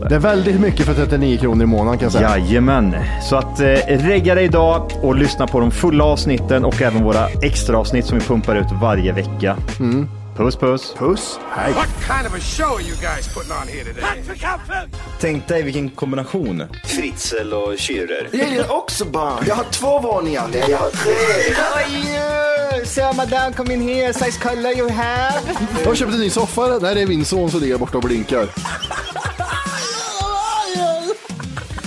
det. Det är väldigt mycket för 39 kronor i månaden kan jag säga. Jajamän. Så att eh, regga dig idag och lyssna på de fulla avsnitten och även våra extra avsnitt som vi pumpar ut varje vecka. Puss puss. Puss. Hej. What kind of a show are you guys putting on here today? Tänk dig vilken kombination. Fritzel och Schürrer. Jag gillar också barn. Jag har två våningar. Nej, jag har tre. Sir, madame, come in here. Size color you have. Jag har köpt en ny soffa. eller? Nej, det är min son som ligger borta och blinkar.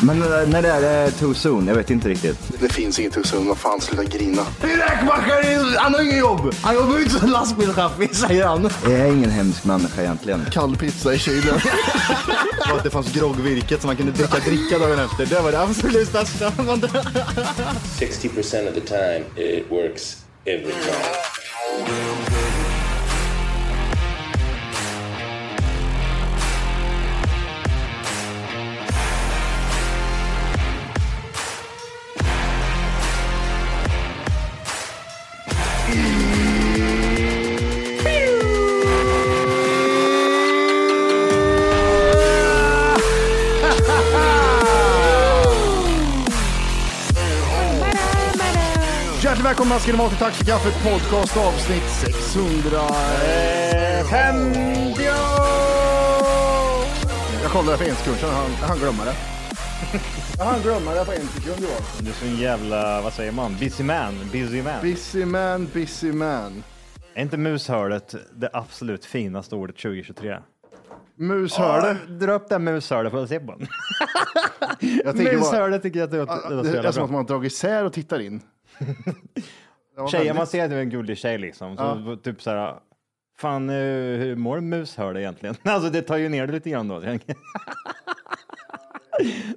Men eh, när det är det too soon? Jag vet inte riktigt. Det finns inget hus. Vad fan, sluta grina. Min räkmackare, han har inget jobb. Han jobbar ut som lastbilschaffis, säger han. Jag är ingen hemsk människa egentligen. Kall pizza i kylen. Och att det fanns groggvirket som man kunde dricka dricka dagen efter. Det var det absolut bästa. 60% of the time, it works every time. Hjärtligt välkomna ska ni vara till Tack för kaffet podcast avsnitt 650. Jag kollade på en sekund, sen han, han glömmer det. Han glömmer det på en sekund Johan. Du är så en jävla, vad säger man? Busy man. Busy man. Busy man, busy man. Är inte mushörlet det absolut finaste ordet 2023? Mushörde. Dra upp det här mushörlet på zibban. Jag tänker bara, Mushörlet tycker jag att det låter det, det låter så det är som jävla att bra. man har dragit isär och tittar in. Det var Tjejer, väldigt- man ser att du är en gullig tjej liksom. Så typ så här, fan eh, hur mår mushörlet egentligen? Alltså det tar ju ner det lite grann då.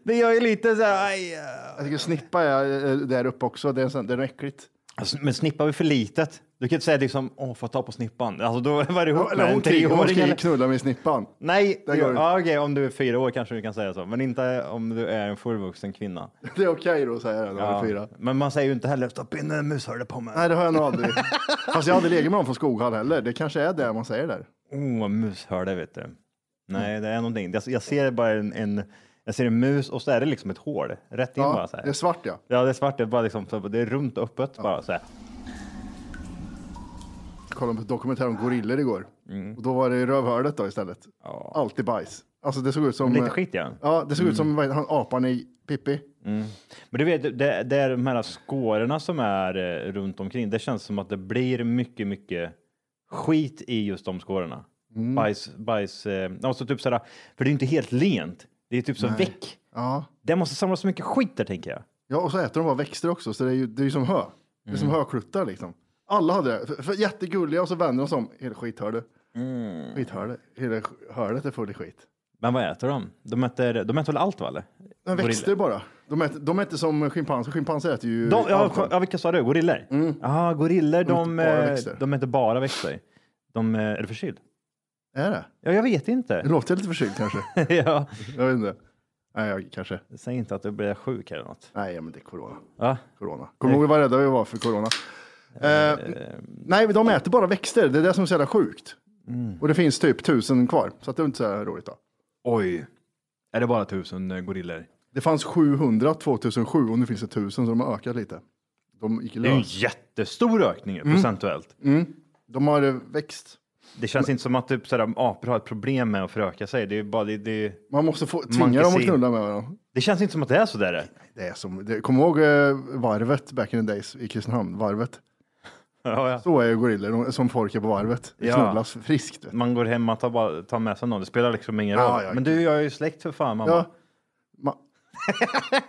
det gör ju lite så här, aj, eh. Jag tycker snippa är eh, där uppe också, det är, sånt- det är nog äckligt. alltså, men snippan var för litet. Du kan inte säga liksom, åh, får jag ta på snippan? Alltså då var det ihop med Eller en hon krig- hon treåring. ska ju eller- knulla med snippan. Nej, Det gör du. ja, okej, om du är fyra år kanske du kan säga så, men inte om du är en fullvuxen kvinna. Det är okej då säger jag när man är fyra. Men man säger ju inte heller stopp in en mushörde på mig. Nej, det har jag nog aldrig. Fast jag har aldrig legat med någon från Skoghall heller. Det kanske är det man säger där. Oh, mushörde vet du. Nej, det är någonting. Jag, jag ser bara en, en, jag ser en mus och så är det liksom ett hål rätt in bara Ja, så här. det är svart ja. Ja, det är svart. Det är bara liksom, så- det är runt och öppet bara så här. Jag kollade på en dokumentär om gorillor igår. Mm. Och då var det rövhålet då istället. Alltid bajs. Alltså det såg ut som... Lite skit ja. Ja, det såg ut Mm. som vad- han apan i Pippi. Men du vet, det, det är de här skårorna som är eh, runt omkring. Det känns som att det blir mycket, mycket skit i just de skårorna. Mm. Bajs, bajs, eh, alltså typ sådär, för det är ju inte helt lent. Det är typ så väck. Ja. Det måste samlas så mycket skit där tänker jag. ja, och så äter de bara växter också, så det är ju, det är ju som hö. Det är som Mm. hökluttar liksom. Alla hade det. För, för jättegulliga och så vänder de sig om. Hela skithörde. Mm. Skithörde. Hela sk- hörnet är fullt i skit. Men vad äter de? De äter, de äter väl allt va? eller? Den växter bara. De, äter, de är inte som schimpanser. Schimpanser äter ju... De, ja, allt. ko- ja, vilka sa du? Gorillor? Ja, De gorillor, äter de, bara eh, växter. de är inte bara växter. De, eh, är du förkyld? Är det? Ja, jag vet Det inte. låter lite förkyld kanske. ja. Jag vet inte. Nej, jag, kanske. Säg inte att du blir sjuk eller något. Nej, men det är corona. Ja. corona. Kommer du ihåg vad rädda vi var för corona? Eh, nej, men de äter bara växter. Det är det som är så jävla sjukt. Och det finns typ tusen kvar, så att det är inte så här roligt. Då. Oj. Är det bara tusen eh, gorillor? Det fanns 700 2007 och nu finns det tusen, så de har ökat lite. De gick Det är ju en lös. jättestor ökning procentuellt. De har eh, växt. Det känns inte som att typ, sådär, apor har ett problem med att föröka sig. Det, är ju bara, det, det, Man måste få, tvinga Monkey dem att see. knulla med varandra. det känns inte som att det är så där. Det är som, det, kom ihåg eh, varvet back in the days i Kristinehamn, varvet. Ja, ja. Så är ju gorillor de- som folk är på varvet. Det Ja. knullas friskt. Vet. du. Man går hem och tar, bara, tar med sig någon. Det spelar liksom ingen Ja, roll. ja, Men du, jag är ju släkt för fan mamma. Ja. Ma-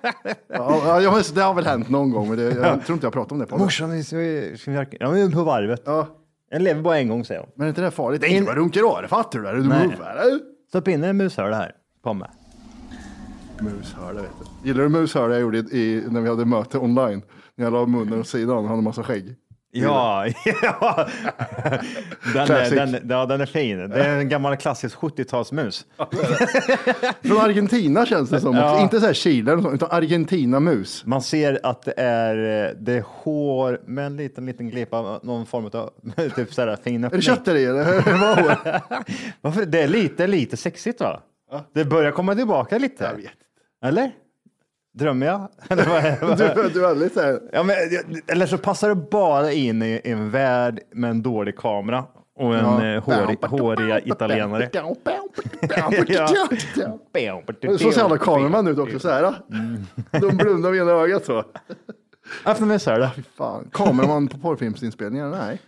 ja, ja, men det har väl hänt någon gång, men det, jag tror inte jag pratat om det på Morsan, vi ska vi ska vi verka- ja, men på varvet. Ja, Den lever bara en gång säger hon. men är inte det farligt? Det är inte bara runkar åre, fattar du det? Är Du Nej. muvar, eller? Stopp in en mushöla här. Pomme. Mushörda, vet du. Gillar du mushörda jag gjorde i, i, när vi hade möte online? När jag la munnen åt sidan och hade en massa skägg. Ja, ja. Den, Classic. är, den, ja, den är fin. Det är en gammal klassisk 70-talsmus. Från Argentina känns det som. också. Inte så här Chile, eller så, utan Argentina-mus. Man ser att det är, eh, det är hår med en liten, liten glipa, av någon form av typ så här fin Är det öppning. kött i det, eller? Vad var det? Varför? Det är lite, lite sexigt va? Det börjar komma tillbaka lite. Jag vet inte. Eller? Drömmer jag? Eller vad är, vad är? Du, du är väldigt så här... Ja, men, eller så passar det bara in i en värld med en dålig kamera och en ja. hårig, håriga italienare. Ja. Så ser alla kameramän ut också, så här. De blundar med ena ögat så. Efter Äh, mig så här då. Fan, kameraman på porrfilmsinspelningar? Nej.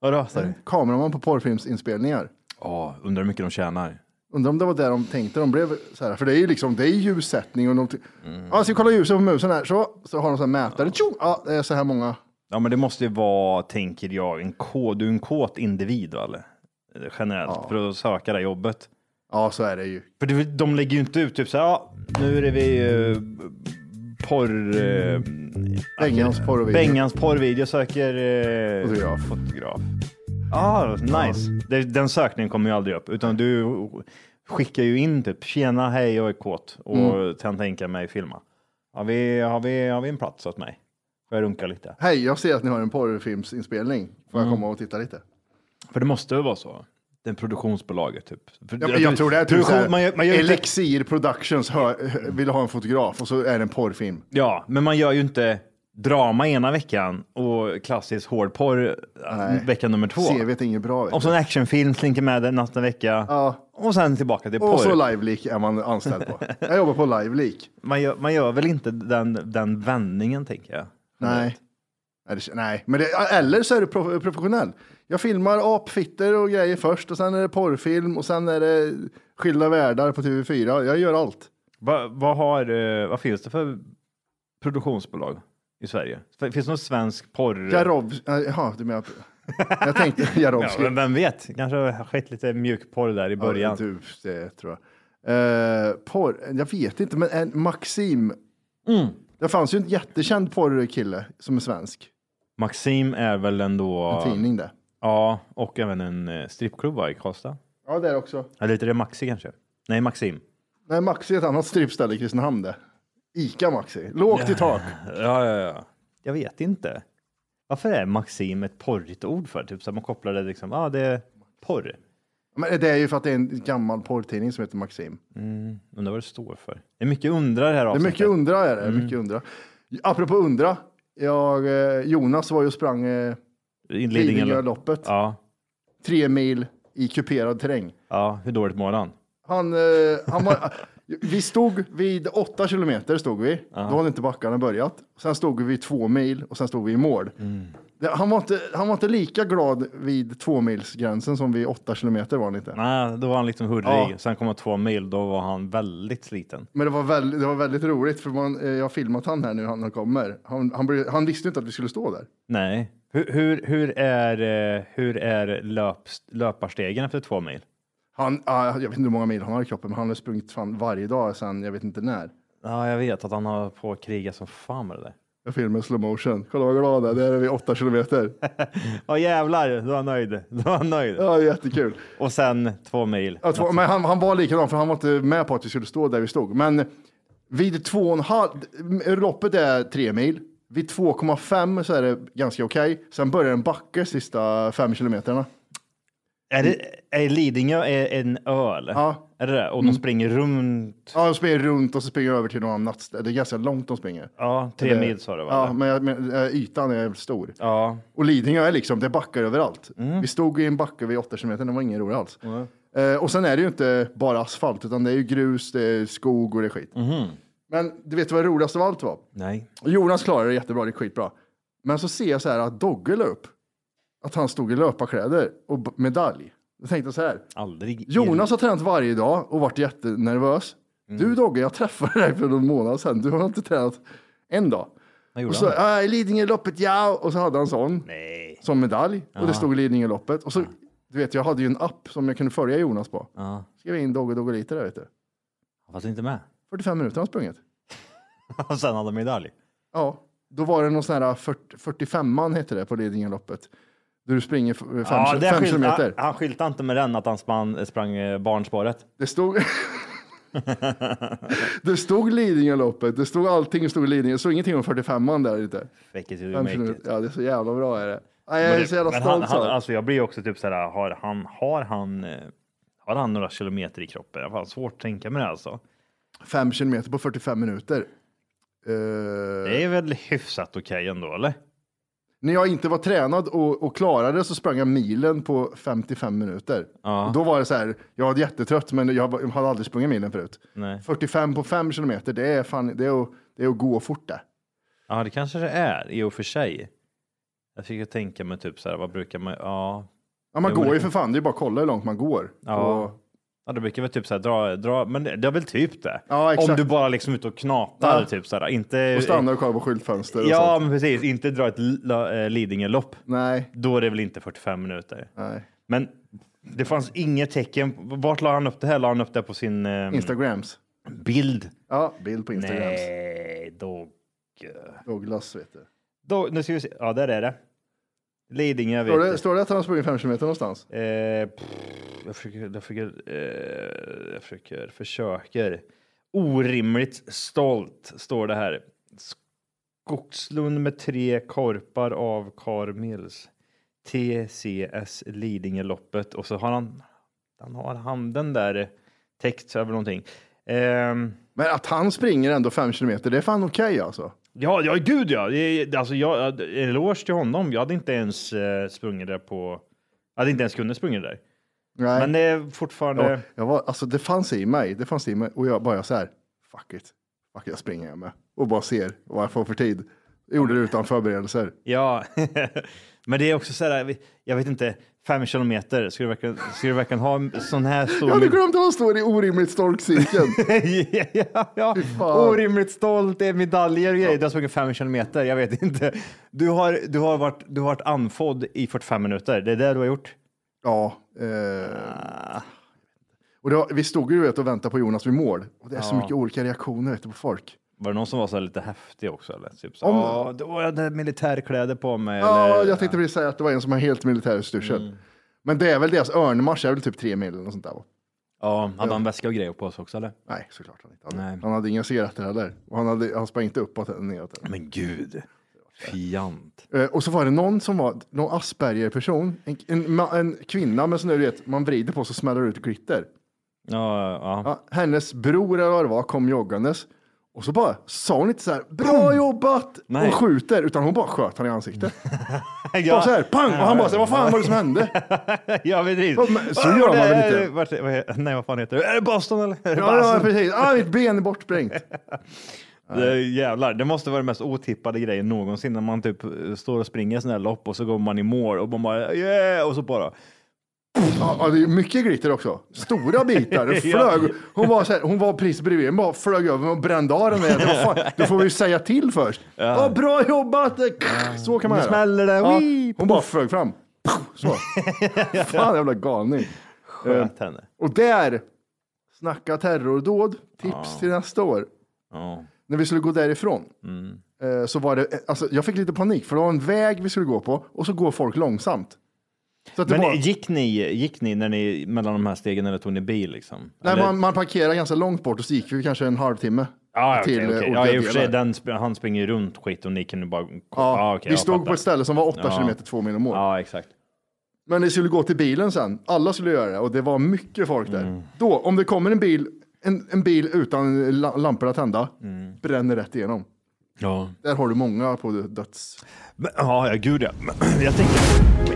Vadå? sa du? Kameraman på porrfilmsinspelningar. Ja, undrar hur mycket de tjänar. Undrar om det var där de tänkte de blev så här, för det är ju liksom, det är ljussättning och de... Ja, ska vi kolla ljuset på musen här? Så, så har de så här mätare. Tjo! Mm. Ja, det är så här många. Ja, men det måste ju vara, tänker jag, en kåt, du är en kåt individ, va, eller? Eh, Generellt, för att söka det här jobbet. Ja, så är det ju. För det, de lägger ju inte ut typ så här, ja, nu är vi uh, porr... eh, Bengans porrvideo. Bengans porrvideo söker... eh, Fotograf. fotograf. Ah, nice. Det, den sökningen kommer ju aldrig upp, utan du skickar ju in typ, tjena, hej, jag är kåt och kan tänka mig filma. Har vi, har, vi, har vi en plats åt mig? Får jag runka lite? Hej, jag ser att ni har en porrfilmsinspelning. Får jag komma och titta lite? För det måste väl vara så? Det är produktionsbolaget typ. För, Ja, men jag tror det är typ produktion- såhär, man gör, man gör ju inte, Elixir Productions hör, vill ha en fotograf och så är det en porrfilm. Ja, men man gör ju inte drama ena veckan och klassisk hårdporr Nej. vecka nummer två. CVt är inget bra. Vet Och du. så en actionfilm slinker med den nästa vecka. Ja. Och sen tillbaka till Och så porr. Liveleak är man anställd på. Jag jobbar på Liveleak. Man gör, man gör väl inte den, den vändningen, tänker jag. Nej. Nej, det- Nej, men det, eller så är du prof- professionell. Jag filmar apfitter och grejer först och sen är det porrfilm och sen är det skilda världar på TV4. Jag gör allt. Vad, vad, har, eh, vad finns det för produktionsbolag i Sverige? Finns det någon svensk porr... Jarov... eh, Jaha, du menar... Jag tänkte Ja, Jarovski. men vem vet? Kanske har skett lite mjukporr där i början. Ja, typ, det tror jag. Eh, porr, jag vet inte, men en Maxim. Mm. Det fanns ju en jättekänd porrkille som är svensk. Maxim är väl ändå... En tidning det. Ja, och även en eh, strippklubb va, i Karlstad. Ja, det är det också. Eller heter det Maxi kanske? Nej, Maxim. Nej, Maxi är ett annat strippställe i Kristinehamn det. Ica Maxi. Lågt i tak. Ja, ja, ja. Jag vet inte. Varför är Maxim ett porrigt ord för? Typ så här, man kopplar det liksom, ja ah, det är porr. Men det är ju för att det är en gammal porrtidning som heter Maxim. Undrar vad det står för. Det är mycket undrar här Det är mycket undra är det. Mycket undra. Apropå undra. Jag, eh, Jonas var ju och sprang eh, Lidingöloppet. Ja, Tre mil i kuperad terräng. ja, hur dåligt mår han? Han, eh, han var, vi stod vid åtta kilometer, stod vi. då hade inte backarna börjat. Sen stod vi vid två mil och sen stod vi i mål. Det, han, var inte, han var inte lika glad vid tvåmilsgränsen som vid åtta kilometer var han inte. Nej, då var han liksom hurrig. Ja. Sen kom han två mil, då var han väldigt sliten. Men det var, väldigt, det var väldigt roligt för man, eh, jag har filmat han här nu, han kommer. Han, han, blev- han visste inte att vi skulle stå där. Nej. Hur, hur, hur är, eh, hur är löp, löparstegen efter två mil? Han, ah, jag vet inte hur många mil han har i kroppen, men han har sprungit fan varje dag sedan jag vet inte när. Ja, jag vet att han har på att kriga som fan med det där. Jag filmar i slow motion. Kolla vad glada, där är vi åtta kilometer. Ja jävlar, då är han nöjd. Då är han nöjd. Ja, jättekul. Och sen två mil. Ja, två, men han, han var likadan, för han var inte med på att vi skulle stå där vi stod. Men vid två och en halv, loppet är tre mil. Vid 2,5 så är det ganska okej. Sen börjar en backe sista fem kilometerna. Är, det, är Lidingö är en ö eller? Ja. Mm. Är det det? Och de springer runt. Ja, de springer runt och så springer de över till någon annan nattställe. Det är ganska långt de springer. Ja, tre Det- mil sa du va? Ja, eller? men, jag- men eh, ytan är jävligt stor. ja. Och Lidingö är liksom, det är backar överallt. Vi stod i en backe vid 8 kilometer, det var ingen rolig alls. Eh, och sen är det ju inte bara asfalt, utan det är ju grus, det är skog och det är skit. Men du vet vad det roligaste av allt var? Nej. Jonas klarade det jättebra, det är skitbra. Men så ser jag så här att Dogge la upp att han stod i löparkläder och b- medalj. Då tänkte jag så här, Aldrig. i- Jonas har tränat varje dag och varit jättenervös. Du Mm. Dogge, jag träffade dig för någon månad sedan, du har inte tränat en dag. Vad gjorde Och så, han? äh, Lidingöloppet, ja! Och så hade han sån Nej. som medalj och det stod Lidingöloppet. Och så, du vet, jag hade ju en app som jag kunde följa Jonas på. Ja. Skrev in Dogge Doggelite där, vet du. Han var inte med. 45 minuter har han sprungit. Och sen hade han medalj. Ja, då var det någon sån här 40, 45an hette det på Lidingöloppet. Där du springer f- fem, Ja, det fem skylt- kilometer. Han, han skyltade inte med den att han span, sprang eh, barnspåret. Det stod... det stod Lidingöloppet, det stod allting stod i Lidingö. Det stod ingenting om 45an där inte. Fake it till you Fem make it. kilometer. Ja, det är så jävla bra är det. Nej, jag är så jävla Men stolt. han, så. han, alltså jag blir också typ så här, har han, har han, eh, har han några kilometer i kroppen? Jag har fan svårt att tänka mig det alltså. Fem kilometer på 45 minuter. Eh, Det är väl hyfsat okej ändå, eller? När jag inte var tränad och, och klarade så sprang jag milen på 55 minuter. Ja. Och då var det så här, jag var jättetrött men jag var- jag hade aldrig sprungit milen förut. Nej. 45 på 5 kilometer, det är, fan, det är, att, det är att gå fort det. Ja, det kanske det är i och för sig. Jag fick ju tänka mig typ så här, vad brukar man, ja, Ja, man Jo, men går det- ju för fan, det är bara att kolla hur långt man går. Ja. Och, ja det brukar väl typ så här dra, dra, men det det är väl typ det. Ja, exakt. Om du bara liksom är ute och knatar Ja. typ så här, inte. och stanna och kolla på skyltfönster och Ja, sånt. men precis, inte dra ett L- La- eh, Lidingölopp. Nej, Då är det väl inte 45 minuter. nej. Men det fanns inget tecken. Vart la han upp det här? La han upp det på sin eh, Instagrams. bild? Ja, bild på Instagrams. Nej, då... Douglas vet du. då... Nu ska vi se. Ja, där är det. Lidingö, vet Står det, du. står det att han har sprungit 5 kilometer någonstans? Eh, pff, jag försöker, jag försöker, eh, jag försöker, försöker. Orimligt stolt står det här. Skogslund med tre korpar av Carl Mills. TCS Lidingöloppet och så har han, han har handen där text över någonting. Ehm, Men att han springer ändå 5 kilometer, det är fan okej alltså. Ja, ja, gud ja. Det- Alltså, jag, eloge till honom. Jag hade inte ens eh, sprungit där på... Jag hade inte ens kunnat springa där. Nej. Men det är fortfarande... Ja, jag var, alltså det fanns i mig, det fanns i mig och jag bara så här, fuck it, fuck it, jag springer jag med och bara ser vad jag får för tid. Jag gjorde det utan förberedelser. Ja, men det är också så här, jag vet inte, fem kilometer, ska du verkligen, ska du verkligen ha en sån här stor... Jag hade glömt att han står i orimligt stork cirkeln. ja, ja. fan. Orimligt stolt, det är medaljer och grejer. Du har sprungit fem kilometer, jag vet inte. Du har, du, har varit, du har varit andfådd i 45 minuter, det är det du har gjort. ja. Eh, och det var, vi stod ju du vet, och väntade på Jonas vid mål och det är så mycket olika reaktioner vet, du, på folk. Var det någon som var så här lite häftig också? Eller? Typ så, Om- "Åh, då har jag hade militärkläder på mig. Ja, eller, jag tänkte precis säga att det var en som har helt militär utstyrsel. Men det är väl deras örnmarsch, är väl typ tre mil eller något sånt där. va? ja, hade han väska och grejer på sig också? Eller? Nej, såklart han inte hade. Nej. Han hade inga cigaretter heller. Och han, hade, han sprang inte uppåt eller neråt. Men gud, fiant. Eh, Och så var det någon som var någon Asperger-person, en, en, ma- en kvinna med sån där du vet, man vrider på så smäller det ut glitter. Ja, ja. Ja, hennes bror eller vad det var kom joggandes och så bara sa hon inte så här bra jobbat Nej. och skjuter utan hon bara sköt han i ansiktet. Ja. Bara så här pang och han bara så här, vad fan var det som hände? Ja, precis. Ja, men så gör man väl det- inte? Vart, vad he- nej, vad fan heter det? Är det Boston eller? Är det Ja, ja Boston? precis, ah, mitt ben är bortsprängt. Det är jävlar, det måste vara den mest otippade grejen någonsin när man typ står och springer sådana här lopp och så går man i mål och man bara yeah och så bara. Ja, ja, det är mycket glitter också, stora bitar, det flög. Hon var, så här, hon var precis bredvid mig, bara flög över mig och brände av den där. Vad fan, Då får vi ju säga till först. Ja. bra jobbat! Så kan man Nu göra. smäller det. Ja, Wii! hon bara flög fram. Så. Fan jävla galning. Sköt henne. Och där, snacka terrordåd, tips till nästa år. Ja. När vi skulle gå därifrån Mm. eh, så var det, alltså, jag fick lite panik för det var en väg vi skulle gå på och så går folk långsamt. Så att det Men bara, gick, ni, gick ni när ni mellan de här stegen eller tog ni bil liksom? nej, Eller- man, man parkerar ganska långt bort och så gick vi kanske en halvtimme. Ja, till, till eh, olika ja, i och för sig, delar. den, sp- han springer ju runt skit och ni kan ju bara... Ja, Ja, okej, vi jag stod fattar. på ett ställe som var 8 Ja. kilometer, 2 mil om året. Ja, exakt. Men det skulle gå till bilen sen. Alla skulle göra det och det var mycket folk där. Mm. Då, om det kommer en bil, en, en bil utan la- lampor att tända, Mm. bränner rätt igenom. Ja. Där har du många på döds... Men, ja, ja, gud ja. Men, jag tänker...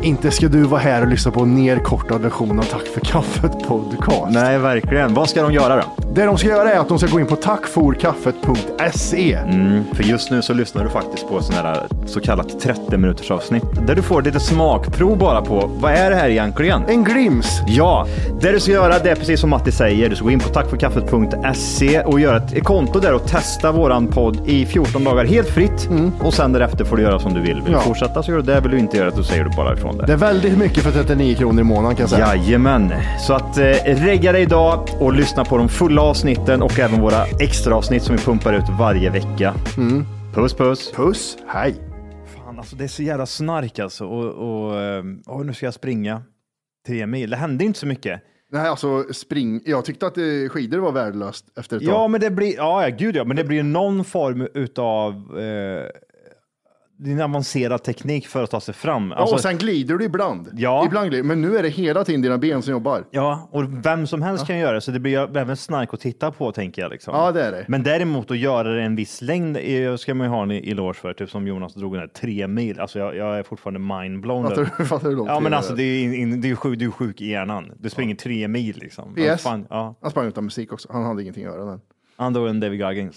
Inte ska du vara här och lyssna på en nerkortad version av Tack för kaffet podcast. Nej, verkligen. Vad ska de göra då? Det de ska göra är att de ska gå in på tackforkaffet.se. För just nu så lyssnar du faktiskt på sån här så kallat 30 minuters avsnitt där du får lite smakprov bara på vad är det här egentligen? En glims. Ja, det du ska göra det är precis som Matti säger. Du ska gå in på tackforkaffet.se E och göra ett konto där och testa våran podd i 14 dagar helt fritt. Och sen därefter får du göra som du vill. Vill du Mm. Ja. fortsätta så gör du det. Vill du inte göra det så säger du bara ifrån det. Det är väldigt mycket för 39 kronor i månaden kan jag säga. Jajamän, så att eh, regga dig idag och lyssna på de fulla avsnitten och även våra extra avsnitt som vi pumpar ut varje vecka. Mm. Puss puss! Puss, hej. Fan, alltså det är så jävla snark alltså. Och, och, eh, åh, nu ska jag springa tre mil. Det hände inte så mycket. Nej, alltså spring. Jag tyckte att eh, skidor var värdelöst efter ett Ja, tag. men det blir, ja, ja, gud ja, men det blir någon form utav eh, din avancerad teknik för att ta sig fram. Ja, Alltså, och sen glider du ibland. Ja. ibland glider. Men nu är det hela tiden dina ben som jobbar. ja, Mm. och vem som helst kan göra det, så det blir även snark att titta på tänker jag. Liksom. Ja, det är det. Men däremot att göra det en viss längd eh, ska man ju ha en eloge för, typ som Jonas drog den här tre mil. Alltså jag, jag är fortfarande mindblown. där. Fattar du, fattar du hur långt Ja, men det är? alltså det är, in, in, det är, ju sjuk, du är sjuk i hjärnan. Du springer tre mil liksom. Vad PS. Fan, ja. Han sprang utan musik också. Han hade ingenting att göra. Den. Andor än David Goggins.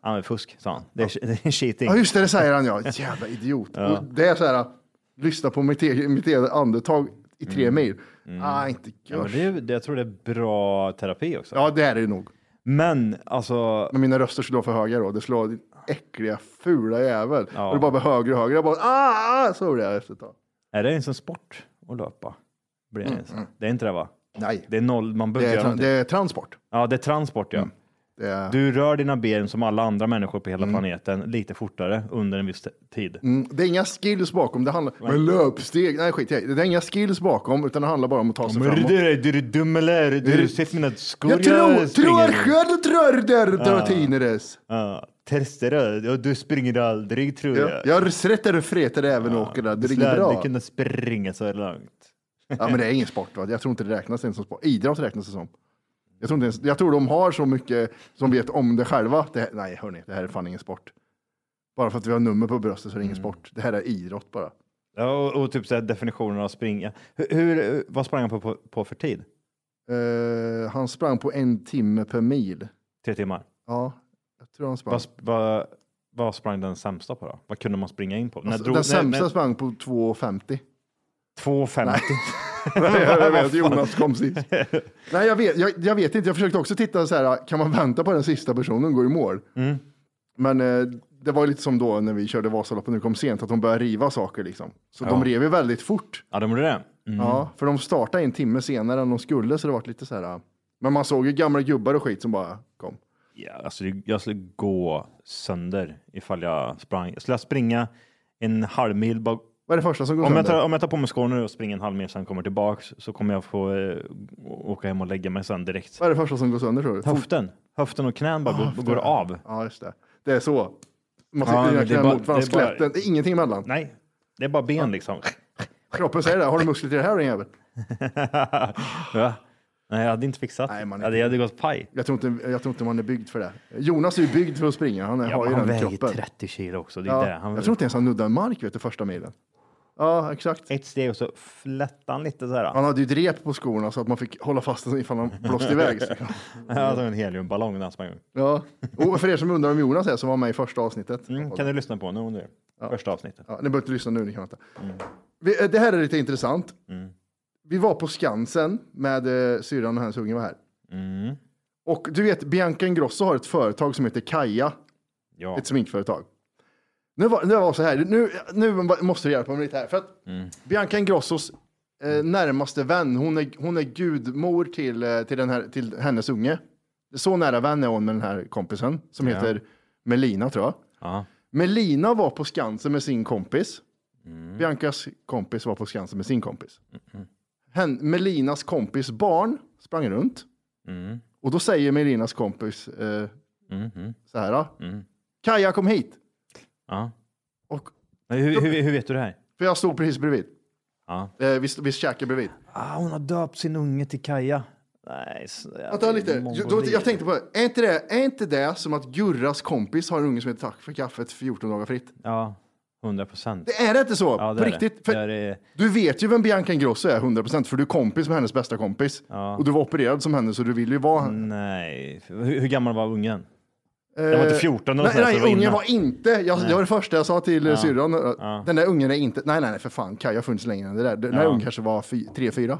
Han är fusk, sa han. Det är, det är cheating. Ja, just det, det säger han ja. Jävla idiot. Och Det är så här, lyssna på mitt eget, mitt eget andetag i tre Mm. mil. Ah, inte Ja, men görs. det, är- det, jag tror det är bra terapi också. Ja, det är det nog. Men alltså, Men mina röster slår för höga då. Det slår din äckliga, fula jävel. Ja. Och det bara blir högre och högre. Jag bara, ah, ah, så blir jag efter ett tag. är det ens en sport att löpa? Blir det, ens? det är inte det va? Nej, Det är noll, man Mm, det är, behöver göra tra- det någonting. är transport. Ja, det är transport ja. Det är, Du rör dina ben som alla andra människor på hela planeten lite fortare under en viss t- tid. Mm, det är inga skills bakom. Det handlar Men löpsteg. Nej, skit i det. Det är inga skills bakom, utan det handlar bara om att ta sig Men är framåt. du, är du dum eller? Är du, sett mina skor Jag tror, springer tror i? själv tror där, Dratineres. Ja, tester det. Ja, du springer aldrig tror Ja, jag. jag resetter och freter även och åker där. Det ringer aldrig bra. kunna springa så här långt. Ja, men det är ingen sport. Va? Jag tror inte det räknas ens som sport. Idrott räknas det som. Jag tror, inte ens, jag tror de har så mycket som vet om det själva. Det här, nej, hörni, det här är fan ingen sport. Bara för att vi har nummer på bröstet så är det ingen Mm. sport. Det här är idrott bara. Ja, och, och typ så här definitionen av springa. Hur, hur, vad sprang han på, på, på för tid? Eh, han sprang på en timme per mil. Tre timmar? Ja, jag tror han sprang. Vad, vad, vad sprang den sämsta på då? Vad kunde man springa in på? När Alltså, drog- Den när- sämsta när- sprang på 2,50. 2,50. jag vet, Jonas kom sist. Nej, jag vet, jag, jag vet inte. Jag försökte också titta så här, kan man vänta på den sista personen går i mål? Mm. Men eh, det var ju lite som då när vi körde Vasaloppet, nu kom sent, att de började riva saker liksom. Så de rev ju väldigt fort. Ja, de gjorde det. Mm. Ja, för de startade en timme senare än de skulle, så det var lite så här. ah. Men man såg ju gamla gubbar och skit som bara kom. Ja, alltså, det- jag skulle gå sönder ifall jag sprang. Jag skulle jag springa en halv mil bak- Vad är det första som går Om jag, sönder? tar, om jag tar på mig skorna nu och springer en halv mil sen kommer tillbaks så kommer jag få eh, åka hem och lägga mig sen direkt. Vad är det första som går sönder tror du? Fot- Höften, höften och knän bara Ah, går, går av. Ja, just det. Det är så. Man Ja, sitter ja, men det är egentligen bara- mot varandra, det är bara- skeletten. Det är ingenting emellan. Nej, det är bara Ah. ben liksom. Kroppen säger det. Har du muskler till det här din jävel? ja. Nej, jag hade inte fixat Nej, man är det. Det hade gått paj. Jag tror, inte, jag tror inte man är byggd för det. Jonas är ju byggd för att springa. Han är, Ja, har ju men han den väger kroppen. 30 kilo också. Det är Ja, det. Han, jag tror inte ens han nuddar mark vet du, första milen. Ja, exakt. Ett steg och så flättar han lite så här. Han hade ju ett rep på skorna så att man fick hålla fast den ifall han blåste iväg. Ja, som en heliumballong när han sprang. Ja. Och för er som undrar om Jonas är, som var med i första avsnittet. Mm, kan du lyssna på nu om du vill? Första avsnittet. Ja, ni behöver inte lyssna nu, ni kan vänta. Mm. Vi, eh, det här är lite intressant. Vi var på Skansen med eh, syrran och hennes unge var här. Mm. Och du vet, Bianca Ingrosso har ett företag som heter Kaja, Ja. ett sminkföretag. Nu var, nu var så här, nu, nu måste du hjälpa mig lite här. För att Mm. Bianca Ingrossos eh, närmaste vän, hon är, hon är gudmor till, eh, till, den här, till hennes unge. Så nära vän är hon med den här kompisen som heter Melina tror jag. Ja. Melina var på Skansen med sin kompis. Biancas kompis var på Skansen med sin kompis. Hen, Melinas kompis barn sprang runt. Och då säger Melinas kompis eh, så här. "Ah, Kaja kom hit. ja. Och, Men Hur, hur, hur vet du det här? för jag stod precis bredvid. Ja. Eh, vi, vi käkade bredvid. Ah, hon har döpt sin unge till Kaja. Nej, Vänta lite. Jag, då, jag tänkte på det. Är inte det, är inte det som att Gurras kompis har en unge som heter Tack för kaffet 14 dagar fritt? Ja, 100 procent. Det är det inte så? Ja, det på är det. riktigt? För Det är- Du vet ju vem Bianca Ingrosso är 100% för du är kompis med hennes bästa kompis. Och du var opererad som henne så du vill ju vara henne. Nej, hur, hur gammal var ungen? Den Mm. var inte 14 eller eh, Nej, sånt där, så det var nej ungen innan. var inte, jag, det var det första jag sa till ja. syrran. eh, Den där ungen är inte, nej nej nej för fan, Kaja har funnits längre än det där. Den där ungen kanske var 3-4.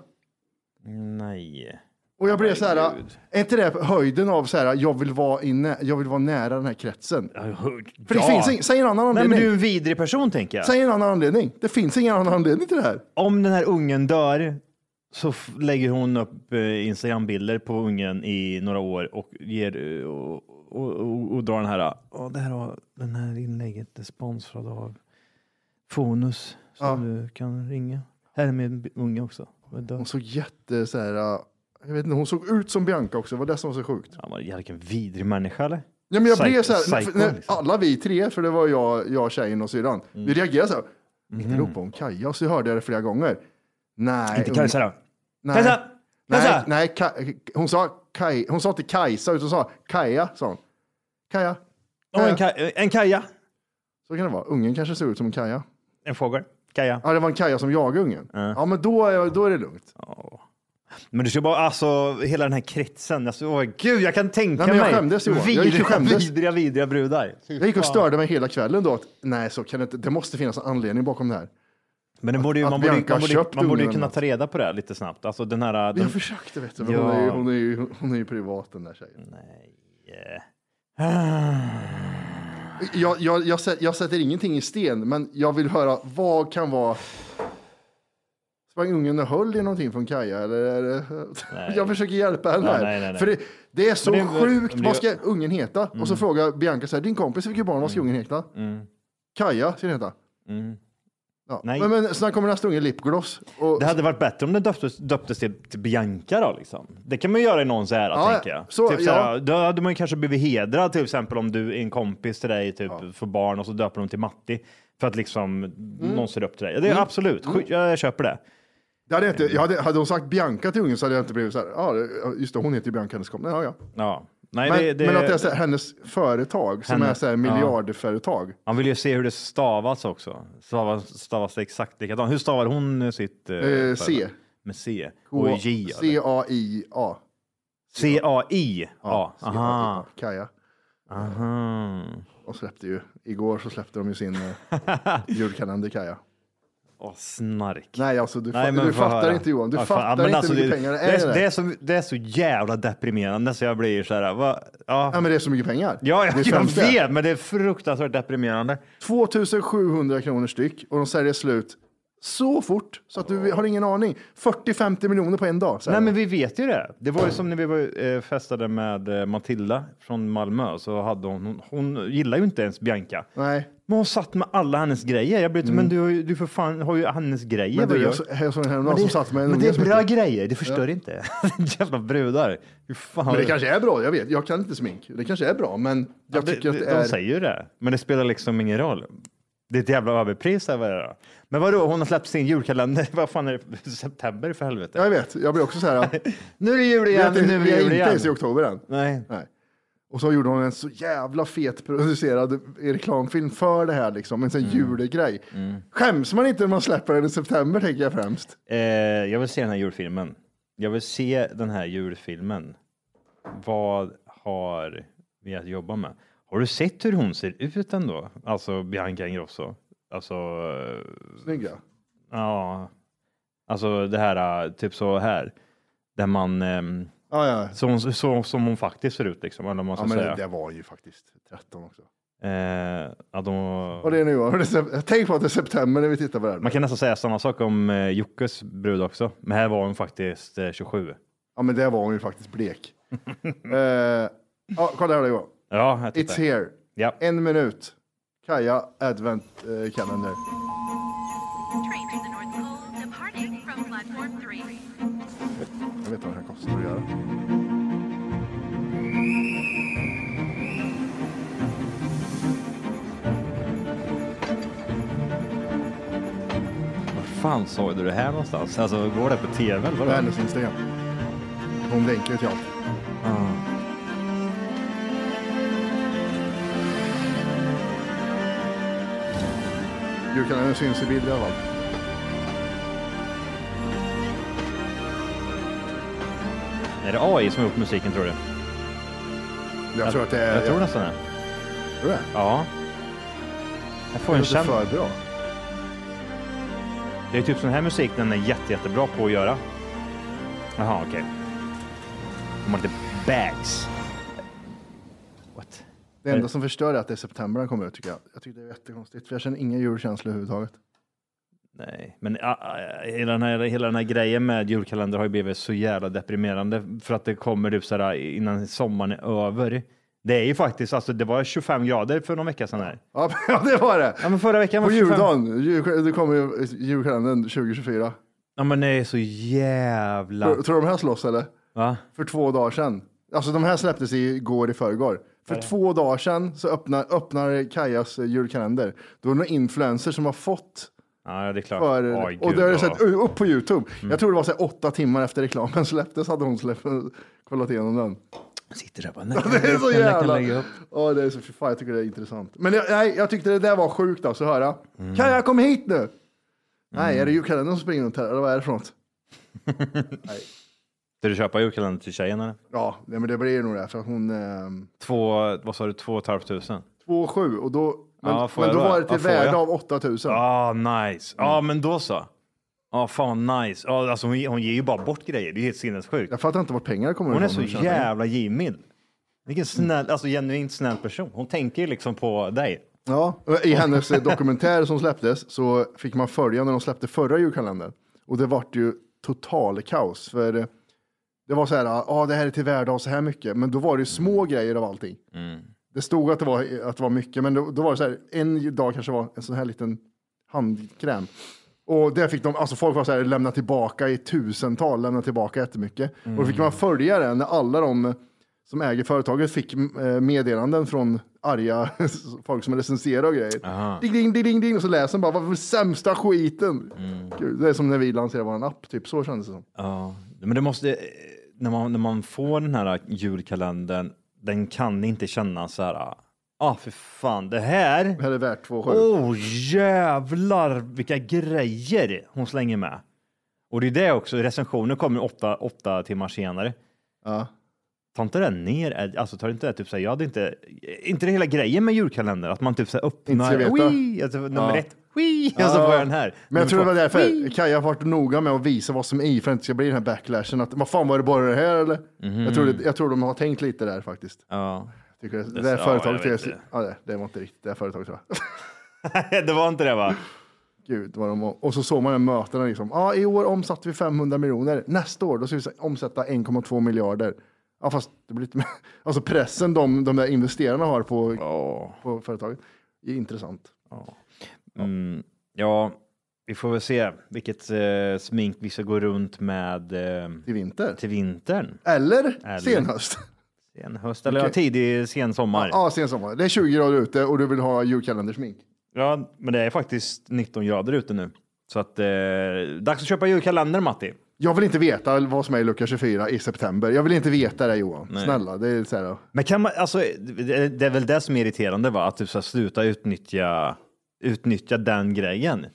Nej. Och jag blev så här, Herregud. är inte det höjden av så här, jag vill vara, inne, jag vill vara nära den här kretsen? För det finns ing, säg en annan Nej, men anledning. du är en vidrig person tänker jag. Säg en annan anledning. Det finns ingen annan anledning till det här. Om den här ungen dör så f- lägger hon upp eh, Instagram-bilder på ungen i några år och ger eh, och, och, och, och drar den här. eh, Ja, det här har den här inlägget är sponsrad av Fonus som du kan ringa. Här är min b- unge också. Han är död. Hon såg jätte så här, eh, jag vet inte, hon såg ut som Bianca också, det var det som var så sjukt. Han var en jävla vidrig människa eller? Ja, men jag Psycho- blev så här, psycho, när, liksom. Mm. alla vi tre, för det var jag, jag tjejen och syrran, vi reagerade så här. Inte ropa om Kaja, så hörde jag det flera gånger. Nej. Inte hon- Kajsa då? Nej. Kajsa! Nej, Kajsa! nej Kaj, hon, sa Kaj, hon sa inte Kajsa, utan sa Kaja, sa hon. Kaja, Åh, en, kaj, en kaja. så kan det vara. Ungen kanske ser ut som en Kaja. En fågel. Kaja. Ja, det var en Kaja som jagade ungen. Ja, men då är, då är det lugnt. Men du ska bara, alltså hela den här kretsen. Alltså, åh, gud, jag kan tänka Nej, men jag mig. skämdes, Johan. Jag gick och vidriga, skämdes. vidriga, vidriga brudar. Jag gick och störde mig hela kvällen då. Att, nej, så kan det inte. Det måste finnas en anledning bakom det här. Men det borde ju, Att man, borde, ju- Bianca man, borde, köpt man borde ju ungen kunna eller ta reda på det här lite snabbt. Alltså den här... Den, Jag försökte, vet du, men Ja. hon, är ju, hon, är ju, hon är ju privat den där tjejen. Jag, jag, jag, sä- jag sätter ingenting i sten, men jag vill höra vad kan vara... Sprang ungen och höll i någonting från Kaja? Eller är det... Jag försöker hjälpa henne Ja, här. nej, nej, nej. För det, det är så Men det- sjukt. men det- Mm. Vad ska ungen heta? Och så frågar Bianca så här, din kompis fick ju barn, vad ska ungen heta? Kaja ska den heta. Ja. Mm. Nej. Men, men sen kommer nästa unge lipgloss. Och, det hade varit bättre om den döptes, döptes till, till Bianca då liksom. Det kan man ju göra i någons ära Ja, tänker jag. så, typ, såhär, ja. Då hade man ju kanske blivit hedrad till exempel om du är en kompis till dig typ, för barn och så döper de till Matti. För att liksom Mm. någon ser upp till dig. Det är absolut, sj- jag köper det. Det hade jag inte, jag hade, hade hon sagt Bianca till ungen så hade jag inte blivit så här, ja det- just det, hon heter ju Bianca, hennes kompis. Ja, ja. Ja. Nej, Men, det, det, men att det är så här, hennes företag som Henne- är så här miljardföretag. Man vill ju se hur det stavas också. Stavas, stavas det exakt likadant? Hur stavar hon sitt? eh, Eh, C. Med C. Och J. eller? C-A-I-A. C-A-I. Ja. C-A-I-A. Aha. Ah, Kaja. Aha. Och släppte ju, igår så släppte de ju sin eh, julkalender Kaja. Åh, snark. Nej, alltså du, fa- men du få fattar höra. inte Johan, du Ja, fan. Ja, fattar men inte alltså, hur mycket det, pengar det det är. i är. Det, Det är, så, det är så jävla deprimerande så jag blir så här. Va? Ja. ja, men det är så mycket pengar. Ja, det ja är jag främst det. vet, men det är fruktansvärt deprimerande. 2700 kronor styck och de säljer slut så fort så att du har ingen aning. 40-50 miljoner på en dag. Så här. Nej, men vi vet ju det. Det var ju som när vi var, eh, festade med eh, Matilda från Malmö så hade hon, hon, hon gillar ju inte ens Bianca. Nej. Men hon satt med alla hennes grejer. Jag blev mm. men du, har ju- du för fan har ju hennes grejer. Men vad du, gör- jag, så- jag såg en häromdagen det, som satt med en men det unge är som bra heter- grejer, det förstör inte. Jävla brudar. Hur fan Men det kanske är bra, jag vet. Jag kan inte smink. Det kanske är bra, men jag Ja, tycker det, att det de är... säger ju det, men det spelar liksom ingen roll. Det är ett jävla överpris. Här, vad är det då? men vadå, hon har släppt sin julkalender. Vad fan är det? September för helvete. Jag vet, jag blir också så här... att- Nu är det jul Vi igen, är inte, nu är vi det är jul inte ens i igen. oktober än. Nej. Nej. Och så gjorde hon en så jävla fet producerad reklamfilm för det här, liksom, en sån Mm. julegrej. Skäms man inte när man släpper den i september, tänker jag främst. Eh, jag vill se den här julfilmen. Jag vill se den här julfilmen. Vad har vi att jobba med? Har du sett hur hon ser ut ändå? Alltså Bianca Ingrosso. Alltså, eh, Snygga. ja. Alltså det här, eh, typ så här. Där man, ehm, Ja, ja. så, hon- så, som hon faktiskt ser ut liksom. Eller vad man ja ska men säga. det, det var ju faktiskt 13 också. Eh, att hon, Och det är nu, och det är sep- tänk på att det är september när vi tittar på det här. Man kan nästan säga samma sak om eh, Jockes brud också. Men här var hon faktiskt eh, 27. Ja, men det var hon ju faktiskt blek. Eh, ja, kolla här det går. Ja, jag tittar. It's here. Ja. En minut. Kaja Advent eh, Calendar. Jag vet vad den här kostar att göra. Var fan såg du det här någonstans? Alltså, går det på tv eller På vadå? hennes Instagram. Hon länkar ju till allt. Ah. Julkalendern syns i bild i alla fall. Är det AI som har gjort musiken tror du? Jag tror att det är... Jag tror nästan det. Tror det. Ja. Jag får Det en låter känsla. för bra. Det är typ sån här musik den är jätte, jättebra på att göra. Jaha, okej. De har lite bags. What? Det enda som förstör är att det är september den kommer ut tycker jag. Jag tycker det är jättekonstigt för jag känner ingen julkänsla överhuvudtaget. Nej, men ah, ah, hela, den här, hela den här grejen med julkalender har ju blivit så jävla deprimerande för att det kommer typ så här innan sommaren är över. Det är ju faktiskt, alltså det var 25 grader för någon vecka sedan här. Ja, ja, det var det. Ja, men förra veckan var På 25. juldagen, jul, det kommer ju julkalendern 2024. Ja, men det är så jävla... Tror, tror du de här slåss eller? Va? För två dagar sedan. Alltså de här släpptes igår i förrgår. För två dagar sedan så öppnar, öppnar Kajas eh, julkalender. Då är det några influencers som har fått Ja, det är klart. för, Oj, och gud, det har ja. Mm. jag sett upp på Youtube. Jag tror det var så här, åtta timmar efter reklamen släpptes hade hon släppt, kollat igenom den. Sitter där bara, nej, Det är så jävla... lägga upp. Ja, det är så, fy fan, jag tycker det är intressant. Men jag, nej, jag tyckte det där var sjukt alltså att höra. Mm. Kan jag komma hit nu? Nej, är det julkalendern som springer runt här? Eller vad är det för något? Ska du köpa julkalender till tjejen eller? Ja, nej, men det blir nog det. För att hon... Eh, Två, vad sa du, två och ett halvt tusen? 2,7 och då... Men, Ja, får men jag då då? var det till Ja, får värde jag? av 8000. Ah, nice. Ja, Mm. ah, men då så. Ja, ah, fan nice. Ah, alltså hon, hon ger ju bara bort grejer. Det är helt sinnessjukt. Jag fattar inte vart pengar kommer Hon är så ifrån. men tjänar. jävla givmild. Vilken snäll, alltså genuint snäll person. Hon tänker ju liksom på dig. Ja, och I hennes eh, dokumentär som släpptes så fick man följa när de släppte förra julkalendern. Och det vart ju total kaos. För eh, det var så här, ja ah, det här är till värde av så här mycket. Men då var det ju Mm. små grejer av allting. Det stod att det var, att det var mycket, men då, då var det så här, en dag kanske var en sån här liten handkräm. Och där fick de, alltså folk var så här, lämna tillbaka i tusental, lämna tillbaka jättemycket. Och då fick man följa det när alla de som äger företaget fick eh, meddelanden från arga folk som recenserar och grejer. Ding, ding, ding, ding, ding. Och så läser man bara, vad för sämsta skiten. Gud, det är som när vi lanserade vår app, typ så kändes det som. Mm. Ja, men det måste, eh, när man, när man får den här julkalendern, den kan inte kännas så här, ah, ah för fan, det här Det här är värt 2,7. Åh oh, jävlar vilka grejer hon slänger med. Och det är det också, recensioner kommer åtta, åtta timmar senare. Ja. Tar inte det ner, alltså tar inte det typ såhär, jag hade inte, inte det hela grejen med julkalendern, att man typ såhär Inte ska öppnar, veta. Wii, alltså, nummer Ja. ett, Wii, och så får jag den här. Men jag Nummer tror det var två, därför Wii. Kaja har varit noga med att visa vad som är i för att det inte ska bli den här backlashen. Att, vad fan var det bara det här eller? Mhm. Jag, tror det, jag tror de har tänkt lite där faktiskt. Ja. Tycker det, det, Ja, där jag företaget vet är, det. ja, det, det var inte riktigt det här företaget tror jag. det var inte det va? Gud vad de Och så såg man den mötena liksom. Ja, i år omsatte vi 500 miljoner. Nästa år då ska vi omsätta 1,2 miljarder. Ja, fast det blir lite mer. Alltså pressen de, de där investerarna har på, på företaget är intressant. Mm, ja, vi får väl se vilket eh, smink vi ska gå runt med eh, Till vinter. till vintern. Eller, Eller- senhöst. Sen höst eller Okej. ja, tidig sensommar. Ja. Ja, sen sommar. Det är 20 grader ute och du vill ha julkalendersmink. men det är faktiskt 19 grader ute nu. Så att eh, dags att köpa julkalender Matti. Jag vill inte veta vad som är i lucka 24 i september. Jag vill inte veta det Johan. Snälla, det är så här. Men kan man, alltså, det det är väl det som är irriterande va? Att du ska sluta utnyttja, utnyttja den grejen.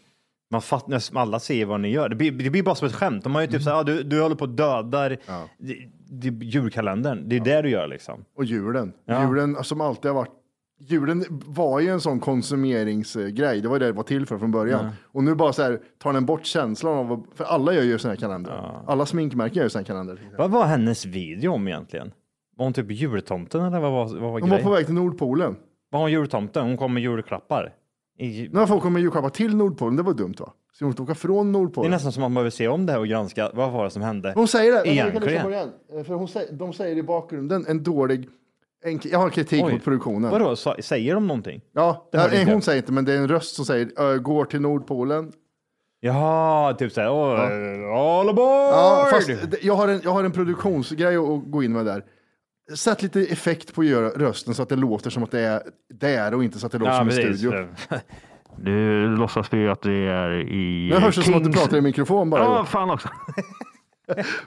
Man fattar, alla ser vad ni gör. Det blir, det blir bara som ett skämt. De har ju typ så här, ah, du, du håller på och dödar det, det, julkalendern. Det är det du gör liksom. Och julen. Ja. Julen alltså, som alltid har varit. Julen var ju en sån konsumeringsgrej. Det var ju det det var till för från början. Och nu bara så här tar den bort känslan av. vad- För alla gör ju såna här kalendrar. Alla sminkmärken gör ju såna här kalendrar. Vad var hennes video om egentligen? Var hon typ jultomten eller vad var, vad var De var grejen? på Var, väg till Nordpolen. hon jultomten? Hon kom med julklappar. I, Nu har folk kommit med julklappar till Nordpolen. Det var dumt va? Så de måste åka från det är Nordpolen. nästan som att man behöver se om det här och granska. Vad var det som hände? Hon säger det. Men Egentligen. vi kan lyssna på det igen. Eh, För hon säger, de säger i bakgrunden en dålig... En, jag har kritik Oj. mot produktionen. Vadå, sa, säger de någonting? Ja, Det hörde nej, inte hon jag. säger inte, men det är en röst som säger "Ö, går till Nordpolen. Jaha, typ såhär, ja. all Ja, aboard! fast det- jag har, en, jag har en produktionsgrej att- att gå in med där. Sätt lite effekt på göra rösten så att det låter som att det är där och inte så att det låter som en studio. Nu låtsas vi att vi är i... Nu hörs det som att du pratar i mikrofon bara. Ja, fan också.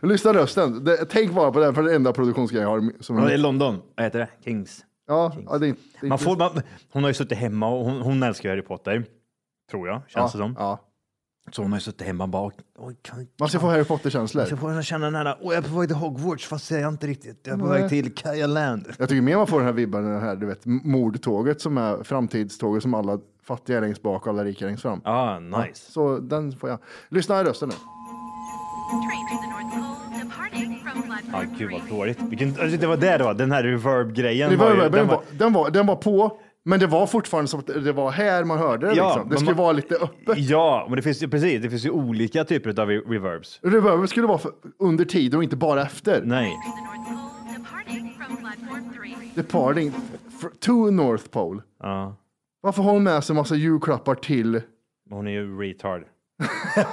Lyssna rösten. Det, tänk bara på det, här, för det är den enda produktionsgrejen jag har. Som, det är London. Vad heter det? Kings. ja, ja, det är inte, det är Man inte- får, man, hon har ju suttit hemma och hon, hon älskar ju Harry Potter. Tror jag, ja, känns det som. ja. Så hon har ju suttit hemma och bara... Oj, kan, Man ska få Harry Potter-känslor. så får hon känna den här, åh, jag är på väg till Hogwarts, fast jag är inte riktigt. Jag är på väg till Kaja Land. Jag tycker mer man får den här vibben, den här du vet, mordtåget som är framtidståget som alla fattiga är längst bak och alla rika är längst fram. Ah, nice. Så den får jag. Lyssna här rösten nu. Ja, Ah, gud vad dåligt. Vilken, alltså, det var det det var, den här reverb-grejen. Det var var, ju- den, den var- var, den, var, den var på, men det var fortfarande som att det var här man hörde det. Ja, liksom. Det men skulle man- vara lite öppet. Ja, men det finns ju precis, det finns ju olika typer av reverbs. Reverben skulle vara för, under tid och inte bara efter. Nej. Departing fr- to North Pole. Ja, Varför har hon med sig massa julklappar till men hon är ju retard.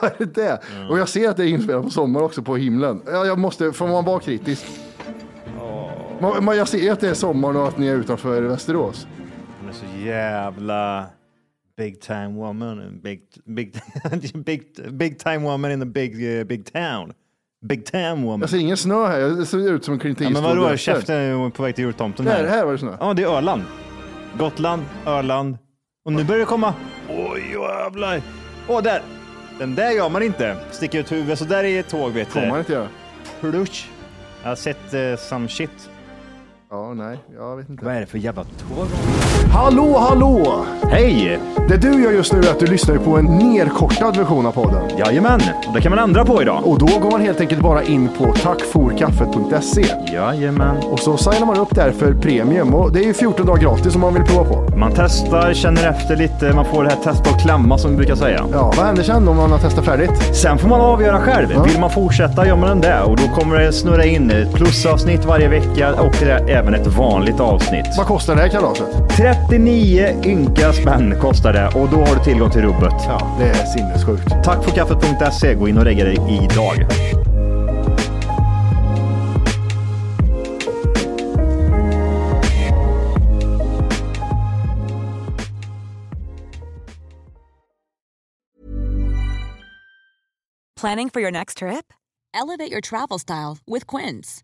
Vad är det? Och jag ser att det är inspelat på sommaren också, på himlen. Ja, jag måste, får man vara kritisk? Man, man, jag ser att det är sommar och att ni är utanför Västerås. Hon är så jävla big time woman. and Big, big, big, big time woman in a big, eh, big town. Big time woman. Jag ser ingen snö här, jag ser ut som en Clint Ja, men vadå, Eastwood-dräkter. käften är på väg till jultomten Där, här. här var det snö. Ja, det är Öland. Gotland, Öland. Och nu börjar det komma. Oj, jävlar. Åh, där. Den där gör man inte. Sticker ut huvudet. Så där är ett tåg, vet Får man du. inte göra? Plush. Jag har sett eh, some shit. Ja, nej, jag vet inte. Vad är det för jävla tåg? Hallå, hallå! Hej! Det du gör just nu är att du lyssnar på en nerkortad version av podden. Jajamän, det kan man ändra på idag. Och då går man helt enkelt bara in på tackforkaffet.se Jajamän. och så signar man upp där för premium. Och det är ju 14 dagar gratis om man vill prova på. Man testar, känner efter lite, man får det här testa och klämma som vi brukar säga. Ja, vad händer sen om man har testat färdigt? Sen får man avgöra själv. Vill man fortsätta gör man det och då kommer det snurra in ett plusavsnitt varje vecka och det är även ett vanligt avsnitt. Vad kostar det här kalaset? 39 ynka spänn kostar det och då har du tillgång till rubbet. Ja, det är sinnessjukt. Tack för kaffet.se. E. Gå in och lägg dig idag. Planning for your next trip? Elevate your travel style with Quince.